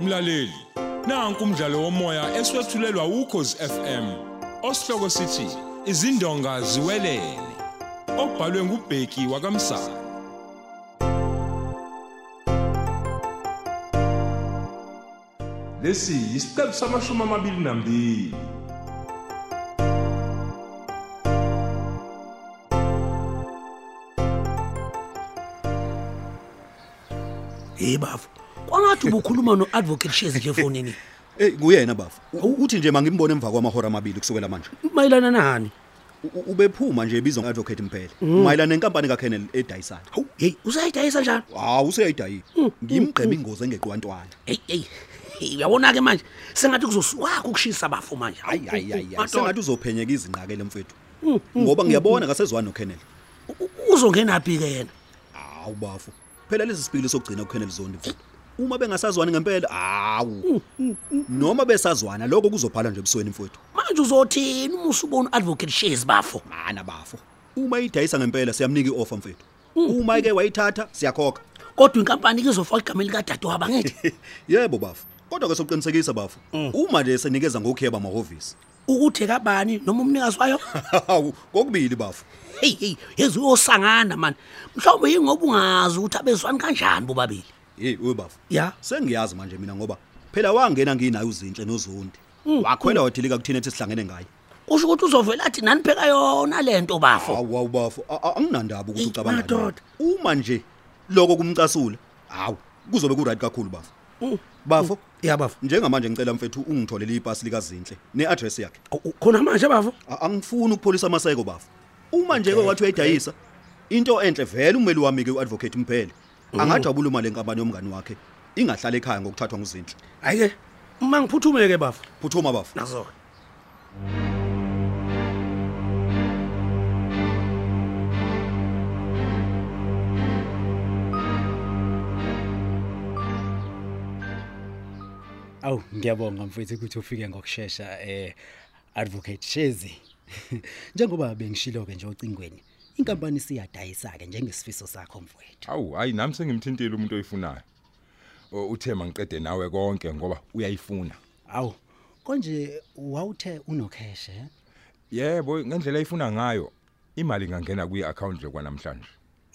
Mlaleli, nanku umdlalo womoya eswetshulelwa ukhozi FM. Osihloko sithi izindonga ziwelele. Obhalwe ngubheki wakamsa. Lesi isiqebu samashumi amabili nambili. hey bafu kwangathi ubukhuluma no-advocate shezi nje efonini Ey kuyena bafu. U- Uthi nje mangimbone emva kwamahora amabili kusukela manje. mayelana nani U- u- Ubephuma nje ebizwa advocate Mphele. Mayelana nenkampani kaKennel edayisayo. Mm. hawu Mm, heyi usayidayisa njani Hawu useyidayile. Ngimgqeba ingozi engeqwantwana. heyi heyi heyi uyabona-ke manje sengathi kuzosukwakho ukushisa bafu manje Hawu, Hayi hayi hayi. madoda, Mm, Sengathi uzophenyeka izinqake lemfethu. Ngoba ngiyabona ngasezwana noKennel. u- u- uzongenaphi-ke yena Hawu bafu. Phela lezi sipili sokugcina uKennel Zondi mfethu. Uma bengasazwani ngempela, Mm, hawu. Noma besazwana lokho kuzobhala nje ebusweni mfethu. manje uzothini uma usubona u-advocate shezi bafu Mana bafo. Uma idayisa ngempela siyamnika ioffer mfethu. Mm. Uma ke wayithatha siyakhokha. kodwa inkampani kizofaka igama likadade waba ngithi Yebo bafo. Kodwa ke sokuqinisekisa bafo. Uma nje senikeza ngokheba amahhovisi. ukuthi kabani noma umnikazi wayo Hawu, kokubili bafo. heyi heyi yezi uyosangana mani mhlawumbe yingoba ungazi ukuthi abezwani kanjani bobabili Hey, we bafo. ya Sengiyazi manje mina ngoba phela wangena nginayo uzintshe nozundi. Wakhwela wathilika kuthina ethi sihlangene ngaye. kusho ukuthi uzovela athi nanipheka yona le nto bafo Hawu, hawu bafo. A- a- Anginandaba ukuthi Eyi, ucabanga. Oh. madoda. ngani. Uma nje lokho kumcasula. Hawu, kuzobe ku right kakhulu bafo. Mm. Bafo, ya bafo njengamanje ngicela mfethu ungitholele ipasi likazinhle ne-address yakhe. U- u- khona manje bafo A- angifuni ukupholisa amaseko bafo uma nje-ke wathi uyayidayisa into enhle vele ummeli wami-ke u-advocate mphele angajabula uma le nkampani yomngani wakhe ingahlala ekhaya ngokuthathwa nguzinhle hhayi-ke uma ngiphuthume-ke bafo phuthuma bafo nazo awu ngiyabonga mfethu ukuthi ufike ngokushesha eh advocate shezi njengoba bengishilo-ke nje ocingweni inkampani siyadayisa-ke njengesifiso sakho mfowethu Awu hayi nami sengimthintile umuntu oyifunayo. O, Uthe mangiqede nawe konke ngoba uyayifuna. awu konje wawuthe unokheshe Yebo, ngendlela ayifuna ngayo. Imali ingangena kwi-account nje kwanamhlanje.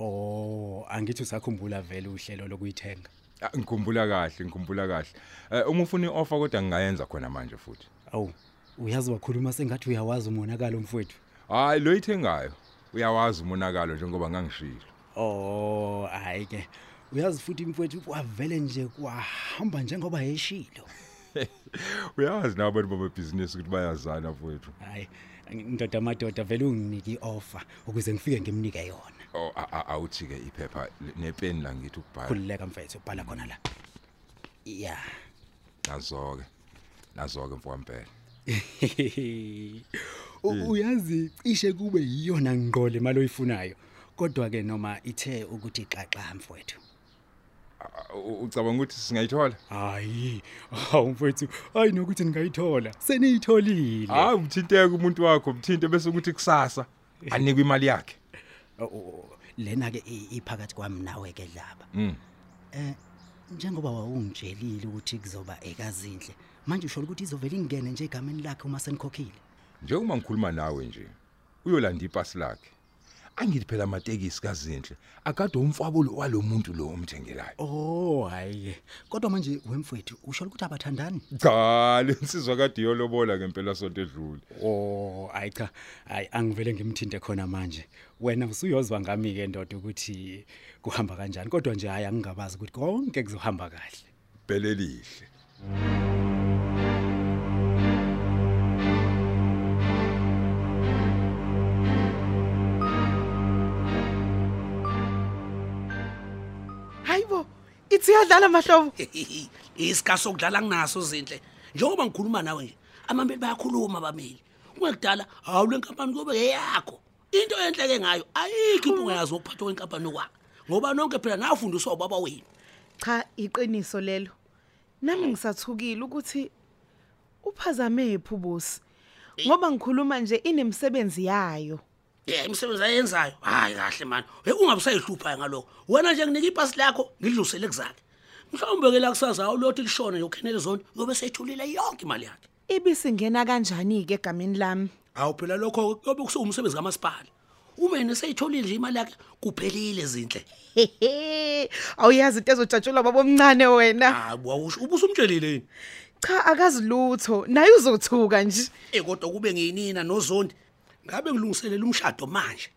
o Oh, angithi usakhumbula vele uhlelo lokuyithenga Ah, Ngikhumbula kahle, ngikhumbula kahle. Eh, Uma ufuna i-offer kodwa ngingayenza khona manje futhi. awu uyazi wakhuluma sengathi uyawazi umonakalo mfowethu Hayi lo ithengayo. Uyawazi umonakalo njengoba ngangishilo. o Oh, hhayi-ke uyazi futhi mfowethu kwavele nje kwahamba njengoba yeshilo Uyazi nawe abantu bamabhizinisi ukuthi bayazana mfowethu. hayi ndoda madoda vele unginike i-offer ukuze ngifike ngimnike yona Oh a- a- awuthi ke iphepha le- nepeni la ngithi ukubhala. khululeka mfethu bhala khona la ya Nazo ke. Nazo ke mfowamphela. U- uyazi cishe kube yiyona ngqole imali oyifunayo kodwa-ke noma ithe ukuthi xaxa mfowethu Ah, u- Ucabanga ukuthi singayithola? hayi hawu mfowethu hayi nokuthi ningayithola seniyitholile Hayi umthinteke umuntu wakho, umthinte bese ukuthi kusasa anikwe imali yakhe. O- o- Oh, lena-ke i- iphakathi kwami nawe-ke dlaba Mm. um njengoba wawungitshelile ukuthi kuzoba ekazinhle manje usho ukuthi izovele ingene nje egameni lakhe uma senikhokhile Njengoba ngikhuluma nawe nje, uyolanda ipasi lakhe. Angithi phela amatekisi kazinhle, akade umfabo lo walomuntu lo omthengelayo. Oh hayi kodwa manje wemfethu usho ukuthi abathandani? Cha, lensizwa kade yolobola ngempela sonto edlule. Oh hayi cha hayi angivele ngimthinte khona manje. Wena usuyozwa ngami ke ndoda ukuthi kuhamba kanjani kodwa nje hayi angingabazi ukuthi konke kuzohamba kahle. Belelihle. hayibo ithi iyadlala mahlobo isikhathi sokudlala nginaso zinhle njengoba ngikhuluma nawe nje amambeli bayakhuluma abameli kungekudala hawu le nkampani kube eyakho into enhle-ke ngayo ayikho impunga yazo ukuphathwa kwenkampani okwakho ngoba nonke phela nafundiswa ubaba wenu cha iqiniso lelo nami ngisathukile ukuthi uphazame iphubusi ngoba ngikhuluma nje inemisebenzi yayo ye imisebenzi ayenzayo hhayi kahle mani e ungabe usayihluphayo ngalokho wena nje nginika ipasi lakho ngidlulisele kuzakhe mhlawumbe ke la kusasa awulothi lishone nokhenele zone yobe sethulile yonke imali yakhe ibisingena kanjani ke egameni lami awu phela lokho yobe kusuwumsebenzi kamasipala umene seyitholile nje imali yakhe kuphelile zinhle hehe awuyazi into ezojatshulwa babomncane wena hayi wawusho ubusumtshelile yini cha akazilutho naye uzothuka nje Eh kodwa kube ngiyinina nozondi ngabe ngilungiselela umshado manje.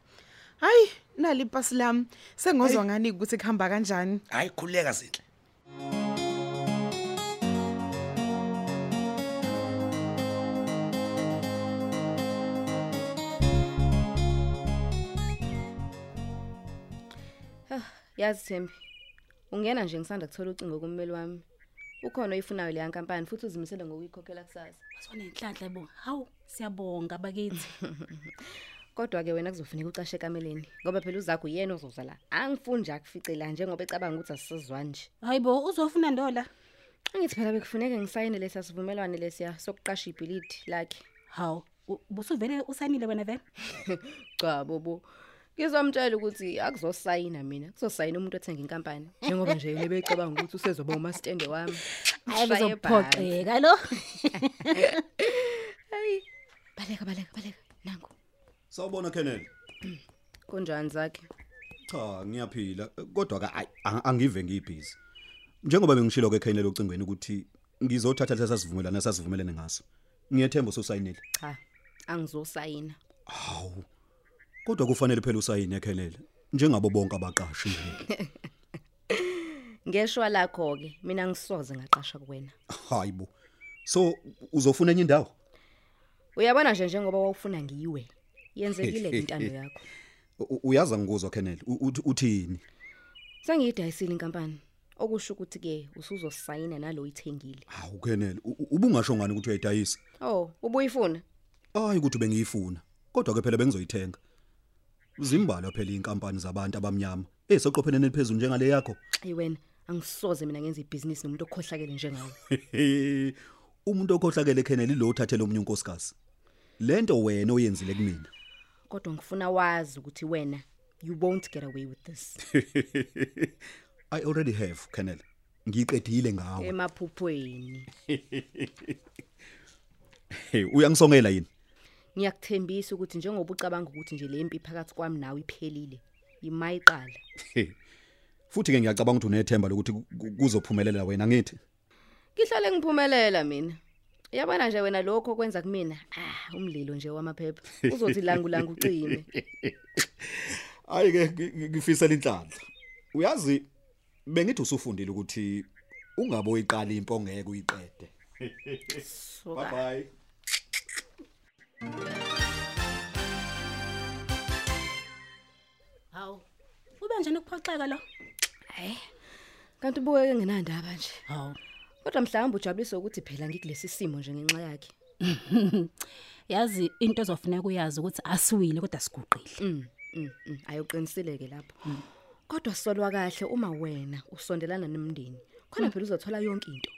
hayi nali ipasi lami sengozwa ngani ukuthi kuhamba kanjani Hayi khuleka zinhle. yazi Thembi ungena nje ngisanda kuthola ucingo kummeli wami ukhona oyifunayo leya nkampani futhi uzimisele ngokuyikhokhela kusasa sonenhlanhla bo hawu siyabonga bakithi kodwa-ke wena kuzofuneka ucashe ekameleni ngoba phela uzakho uyena ozoza la angifuni nje akuficela njengoba ecabanga ukuthi asisezwani nje hayi bo uzofuna ndola angithi phela bekufuneke ngisayine lesiya sivumelwane lesiya sokuqasha ibhilidi lakhe hawu u- busuvele usayinile wena vele cwabo bo ngizomtshela ukuthi akuzosayina mina kuzosayina umuntu othenga inkampani njengoba nje yena ebeyicabanga ukuthi usezoba umastende wami hayi Ushaye bhangi. bezophoxeka lo baleka baleka baleka nangu Sawubona Kenneth. kunjani zakhe Cha, ngiyaphila. Kodwa ka ayi, a- angive ngiyibhizi. Njengoba bengishilo ke Kenneth ocingweni ukuthi ngizothatha lesa sivumelana sasivumelene ngaso. Ngiyethemba usosayinile. cha angizosayina Hawu. Kodwa kufanele phela usayine Kenneth njengabo bonke abaqashi nje. ngeshwa lakho-ke mina ngisoze ngaqasha kuwena Hayibo. So uzofuna enye indawo? uyabona nje njengoba wawufuna ngiyiwe yenzekile le ntando yakho U- Uyazi angikuzwa Kenneth u- uthi- uthini? sengiyidayisile inkampani okusho ukuthi-ke usuzosayina nalo oyithengile Hawu Kenneth u- u- ubungasho ngani ukuthi uyayidayisa? oh ubuyifuna Hayi ukuthi bengiyifuna. Kodwa ke phela bengizoyithenga. Zimbala phela inkampani zabantu abamnyama. Eh soqophenene eliphezulu njengale yakho. ayi wena angisoze mina ngenze ibhizinisi nomuntu okhohlakele njengawe Hehe. umuntu okhohlakele Kenneth lo uthathele omunye unkosikazi lento wena oyenzile kumina kodwa ngifuna wazi ukuthi wena you won't get away with this i already have Kenneth ngiqedile ngawe emaphuphweni hey uyangisongela yini ngiyakuthembisa ukuthi njengoba ucabanga ukuthi nje le mpi phakathi kwami nawe iphelile imayiqala He. futhi ke ngiyacabanga ukuthi unethemba lokuthi ku- ku- kuzophumelela wena ngithi ngihlale ngiphumelela mina yabona nje wena lokho okwenza kumina ah umlilo nje wamaphepha uzothi langulanga ucime hayi ke ngifisela inhlanhla uyazi bengithi usufundile ukuthi ungabe uyiqala into ongeke uyiqede Soka. bye hawu ube njani ukuphoxeka lo hayi kanti ubukeke ngenandaba nje hawu kodwa mhlawumbe ujabulisa ukuthi phela ngikulesi simo nje ngenxa yakhe yazi into ezofuneka uyazi ukuthi asiwile kodwa siguqile Mm, mm, mm, ayoqiniseleke lapho kodwa solwa kahle uma wena usondelana nomndeni khona phela uzothola yonke into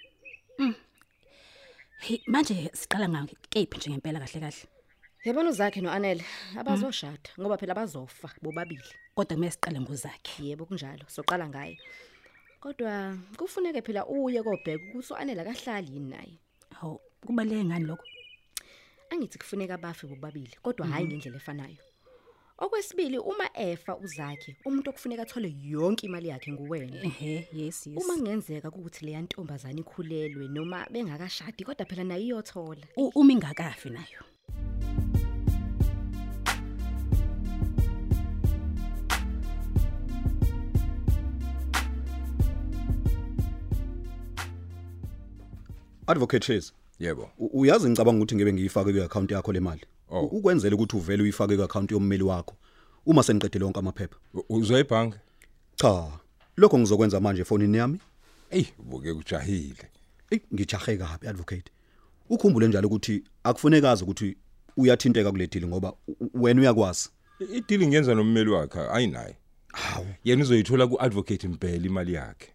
hey manje siqala ngakephi nje ngempela kahle kahle yabona uzakhe no-anele abazoshada ngoba phela bazofa bobabili kodwa kumele siqale ngozakhe yebo kunjalo soqala ngaye kodwa kufuneke phela uye kobheka ukuthi u-anele akahlali yini naye hawu kubaluleke ngani lokho angithi kufuneka bafe bobabili kodwa hhayi Mhm. ngendlela efanayo okwesibili uma efa uzakhe umuntu okufuneka athole yonke imali yakhe nguwena ehe yes yes uma kungenzeka ukuthi leya ntombazane ikhulelwe noma bengakashadi kodwa phela nayo iyothola U- uma ingakafi nayo advocate cheese Yebo. U- uyazi ngicabanga ukuthi ngebe ngiyifake kwi-account yakho le mali Oh. U- ukwenzela ukuthi uvele uyifake kwi-account yommeli wakho uma seniqedile wonke amaphepha U- Uzwa ebhangi? cha lokho ngizokwenza manje efonini yami Ey, ubuke kujahile. eyi ngijahe kabi advocate ukhumbule njalo ukuthi akufunekazi ukuthi uyathinteka kule dili ngoba u- u- wena uyakwazi I- Idili ngenza nommeli wakhe, ayinaye. hawu Yena uzoyithola ku-advocate Mphele imali yakhe.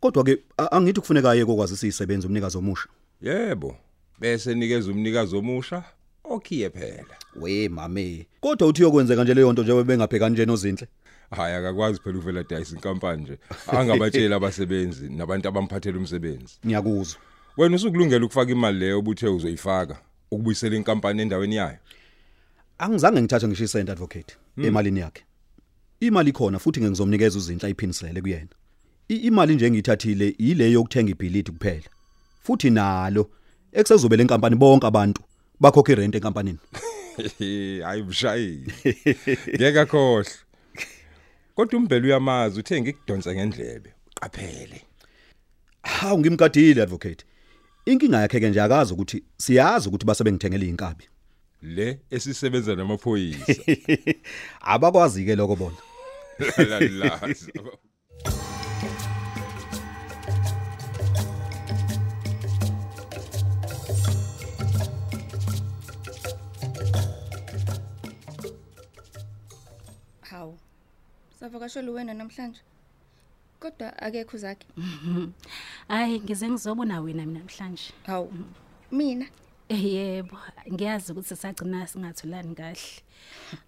kodwa-ke a- angithi kufuneka ayeke okwazisa iyisebenzi umnikazi omusha Yebo. Bese nikeza umnikazi omusha okhiye phela we mami kodwa uthi yokwenzeka nje leyo nto njengoba bengaphekani nje nozinhle hayi akakwazi phela uvela dayisa inkampani nje angabatshela abasebenzi nabantu abamphathela umsebenzi ngiyakuzwa wena usukulungela ukufaka imali leyo obuthe uzoyifaka ukubuyisela inkampani endaweni yayo angizange ngithathe ngishise into advocate emalini yakhe imali khona futhi ngengizomnikeza uzinhle ayiphinisele kuyena I- imali nje engiyithathile ile yokuthenga ibhilidi kuphela futhi nalo ekusezobe lenkampani bonke abantu bakhokha irent enkampanini hayi bushayi ngeke akhohle kodwa umbhelo uyamazi uthe ngikudonsa ngendlebe qaphele hawu ngimkadile advocate inkinga yakhe ke nje akazi ukuthi siyazi ukuthi basebengithengele inkabi le esisebenza namaphoyisa abakwazi ke lokho bona lalazi hawu savakashela wena namhlanje kodwa akekho zakhe hayi ngize ngizobona wena mina namhlanje hawu mina Eh, yebo ngiyazi ukuthi sisagcina singathulani kahle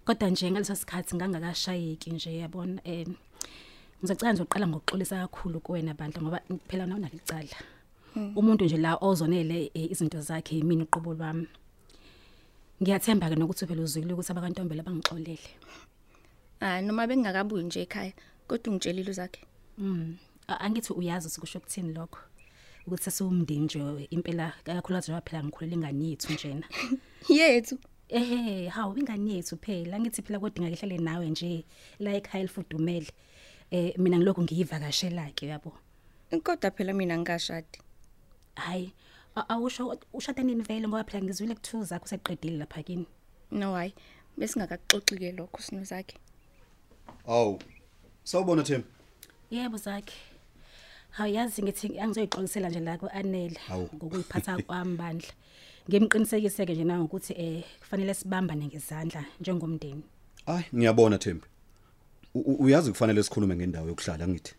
kodwa nje ngaleso sikhathi ngangakashayeki nje yabona um ngizocela nje uqala ngokuxolisa kakhulu kuwena bandla ngoba phela nawe unalicala umuntu nje la ozonele eh, izinto zakhe yimini uqobo lwami ngiyathemba-ke nokuthi phela uzwile ukuthi abakantombela hayi bangixolele Ah, noma bengingakabuyi nje ekhaya kodwa ungitshelile uzakhe Mm. a- angithi uyazi sikusho ukuthini lokho ukuthi sesiwumndeni nje impela kakhulukazi njengoba phela ngikhulele ingane yethu njena yethu ehe hawu ingane yethu phela angithi phela kodinga kehlale nawe nje la ekhaya elifudumele eh mina ngiloko ngiyivakashela ke yabo kodwa phela mina ngikashadi hayi a- awusho ushada nini vele ngoba phela ngizwile kuthu zakho useqedile lapha kini no hayi besingakakuxoxi-ke lokho sino zakhe awu sawubona Thembi yebo zakhe hawu yazi ngithi angizoyixolisela nje la ku-anele Hawu. ngokuyiphatha kwami bandla ngimqinisekise-ke nje nangokuthi um kufanele sibambane ngezandla njengomndeni Ay, ngiyabona Thembi. U- u- Uyazi kufanele sikhulume ngendawo yokuhlala ngithi.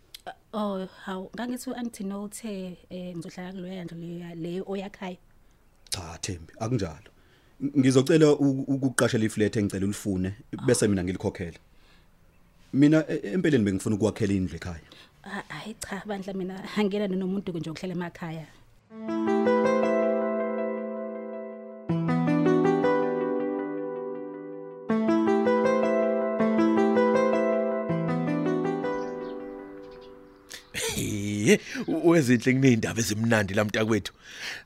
oh hawu ngangithi u-antino uthe um ngizohlala kuloya ndlu leya- leyo oyakhaya Cha Thembi, akunjalo. Ng- Ngizocela u- ukuqashela iflat engicela ulifune bese mina ngilikhokhela. Mina e- empeleni bengifuna ukwakhela indlu ekhaya. Ah, hayi cha bandla mina angena nomuntu nje okuhlela emakhaya Ye, wezinhle kunezindaba ezimnandi lamntakwethu.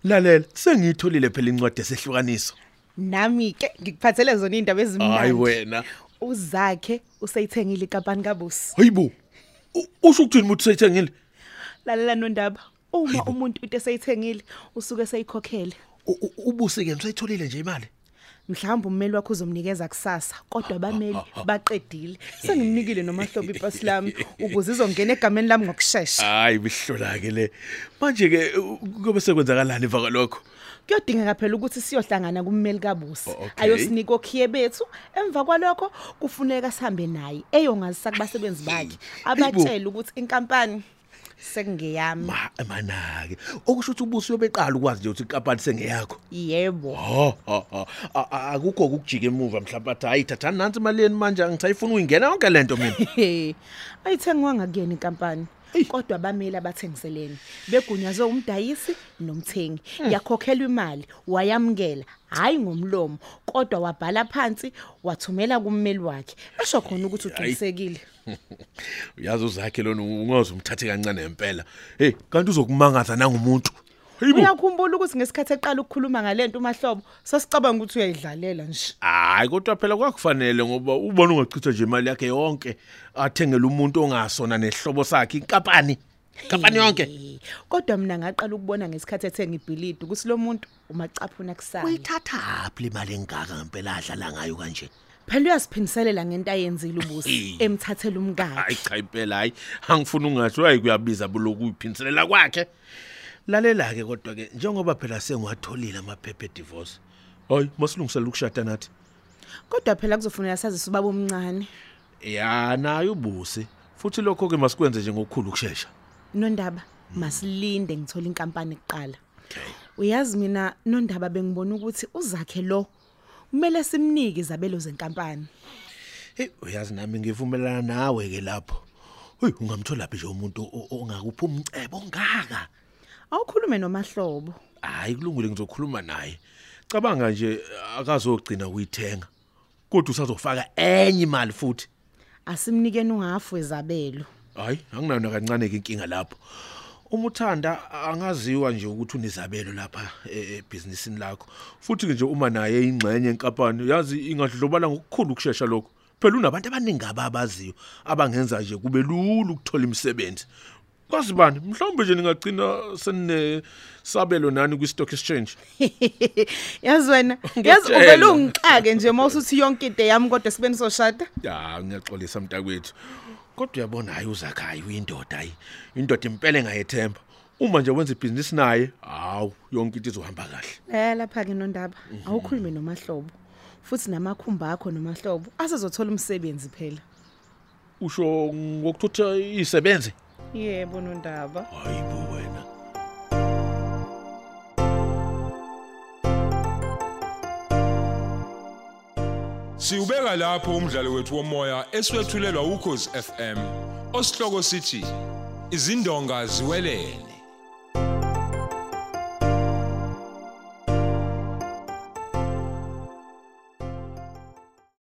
Lalela, sengiyitholile phela incwadi esehlukaniso. nami ke ngikuphathele zona indaba Hayi ezimnandi wena. uzakhe useyithengile inkampani kabusi Hayibo. u- Usho ukuthini muthi seyithengile? lalela nondaba uma umuntu into eseyithengile usuke seyikhokhele U- u- Ubuse ke usayitholile nje imali. mhlawumbe ummeli wakho uzomnikeza kusasa kodwa abameli baqedile sengimnikile nomahlobo ipasi lami ukuze izongena egameni lami ngokushesha Hayi bihlola ke le. Manje ke kube sekwenzakalani emva kwalokho? kuyodingeka phela ukuthi siyohlangana kummeli kabusi O- okay. ayosinika okhiye bethu emva kwalokho kufuneka sihambe naye eyongazisa kubasebenzi bakhe Hayibo. abatshele ukuthi inkampani sekungeyami Ma emana ke. Okusho ukuthi ubuso uyobeqala ukwazi nje ukuthi inkampani sengeyakho. yebo Ha ha ha. A- a- Akukho ukujika emuva mhlawumbe athi hayi thatha nansi imali yeni manje angisayifuna uyingena yonke lento mina. Hey, ayithengwanga kuyena inkampani. Kodwa abameli abathengiselene begunyazwe umdayisi nomthengi. Yakhokhelwa imali, wayamkela, hayi ngomlomo, kodwa wabhala phansi, wathumela kummeli wakhe. Esho khona ukuthi Hhayi. uqinisekile. uyazi uzakhe lona ungaze umthathe kancane ngempela hey kanti uzokumangaza nangumuntu Hayibo. Uyakhumbula ukuthi ngesikhathi eqala ukukhuluma ngalento umahlobo, sasicabanga ukuthi uyayidlalela nje. hayi kodwa phela kwakufanele ngoba ubona ungachitha nje imali yakhe yonke athengele umuntu ongasona nehlobo sakhe inkampani inkampani yonke Eh, Kodwa mina ngaqala ukubona ngesikhathi ethenga ibhilidi ukuthi lo muntu umacaphuna kusasa. uyithathaphi le mali engaka ngempela adlala ngayo kanje Phela uyasiphiniselela ngento ayenzile ubusi, emthathela umkakhe. hayi cha impela hayi angifuni ungasho hayi kuyabiza buloku uyiphiniselela kwakhe lalela-ke kodwa-ke njengoba phela sengiwatholile amaphepha edivorce hayi masilungisele ukushada nathi Kodwa phela kuzofuneka sazise ubaba omncane. ya nayo ubusi futhi lokho-ke masikwenze nje ngokukhulu ukushesha Nondaba, masilinde ngithola inkampani kuqala. okay Uyazi mina nondaba bengibona ukuthi uzakhe lo kumele simnike izabelo zenkampani Hey uyazi nami ngivumelana nawe ke lapho. Hey ungamthola phi nje umuntu o- o- ongakuphi umcebo ngaka? awukhulume nomahlobo Hayi kulungile ngizokhuluma naye. Cabanga nje akazogcina uyithenga. Kodwa usazofaka enye imali futhi. asimnikeni uhafu wezabelo Hayi anginayo nakancane ke inkinga lapho. Umuthanda angaziwa nje ukuthi unizabelo lapha ebusinessini lakho. Futhi nje uma naye ingxenye enkampani yazi ingadlobala ngokukhulu kushesha lokho. Phela unabantu abaningi ababaziyo abangenza nje kube lulu ukuthola imisebenzi. Kwazi bani mhlawumbe nje ningagcina senine sabelo nani kwi stock exchange. yazi wena Ngiyakutshela. yazi uvele ungixake nje uma usuthi yonke into yami kodwa sibeni soshada Ya ngiyaxolisa mntakwethu. Kodwa uyabona hayi uzakhayi uyindoda hayi. Indoda impela engayethemba. Uma nje wenza ibhizinisi naye, hawu yonke into izohamba kahle. Eh lapha ke nondaba awukhulume nomahlobo futhi namakhumba akho nomahlobo asezothola umsebenzi phela usho ngokuthutha isebenze yebo nondaba hayibo wena Siubeka lapho umdlalo wethu womoya eswetshulelwa ukhozi FM. Osihloko sithi izindonga ziwelele.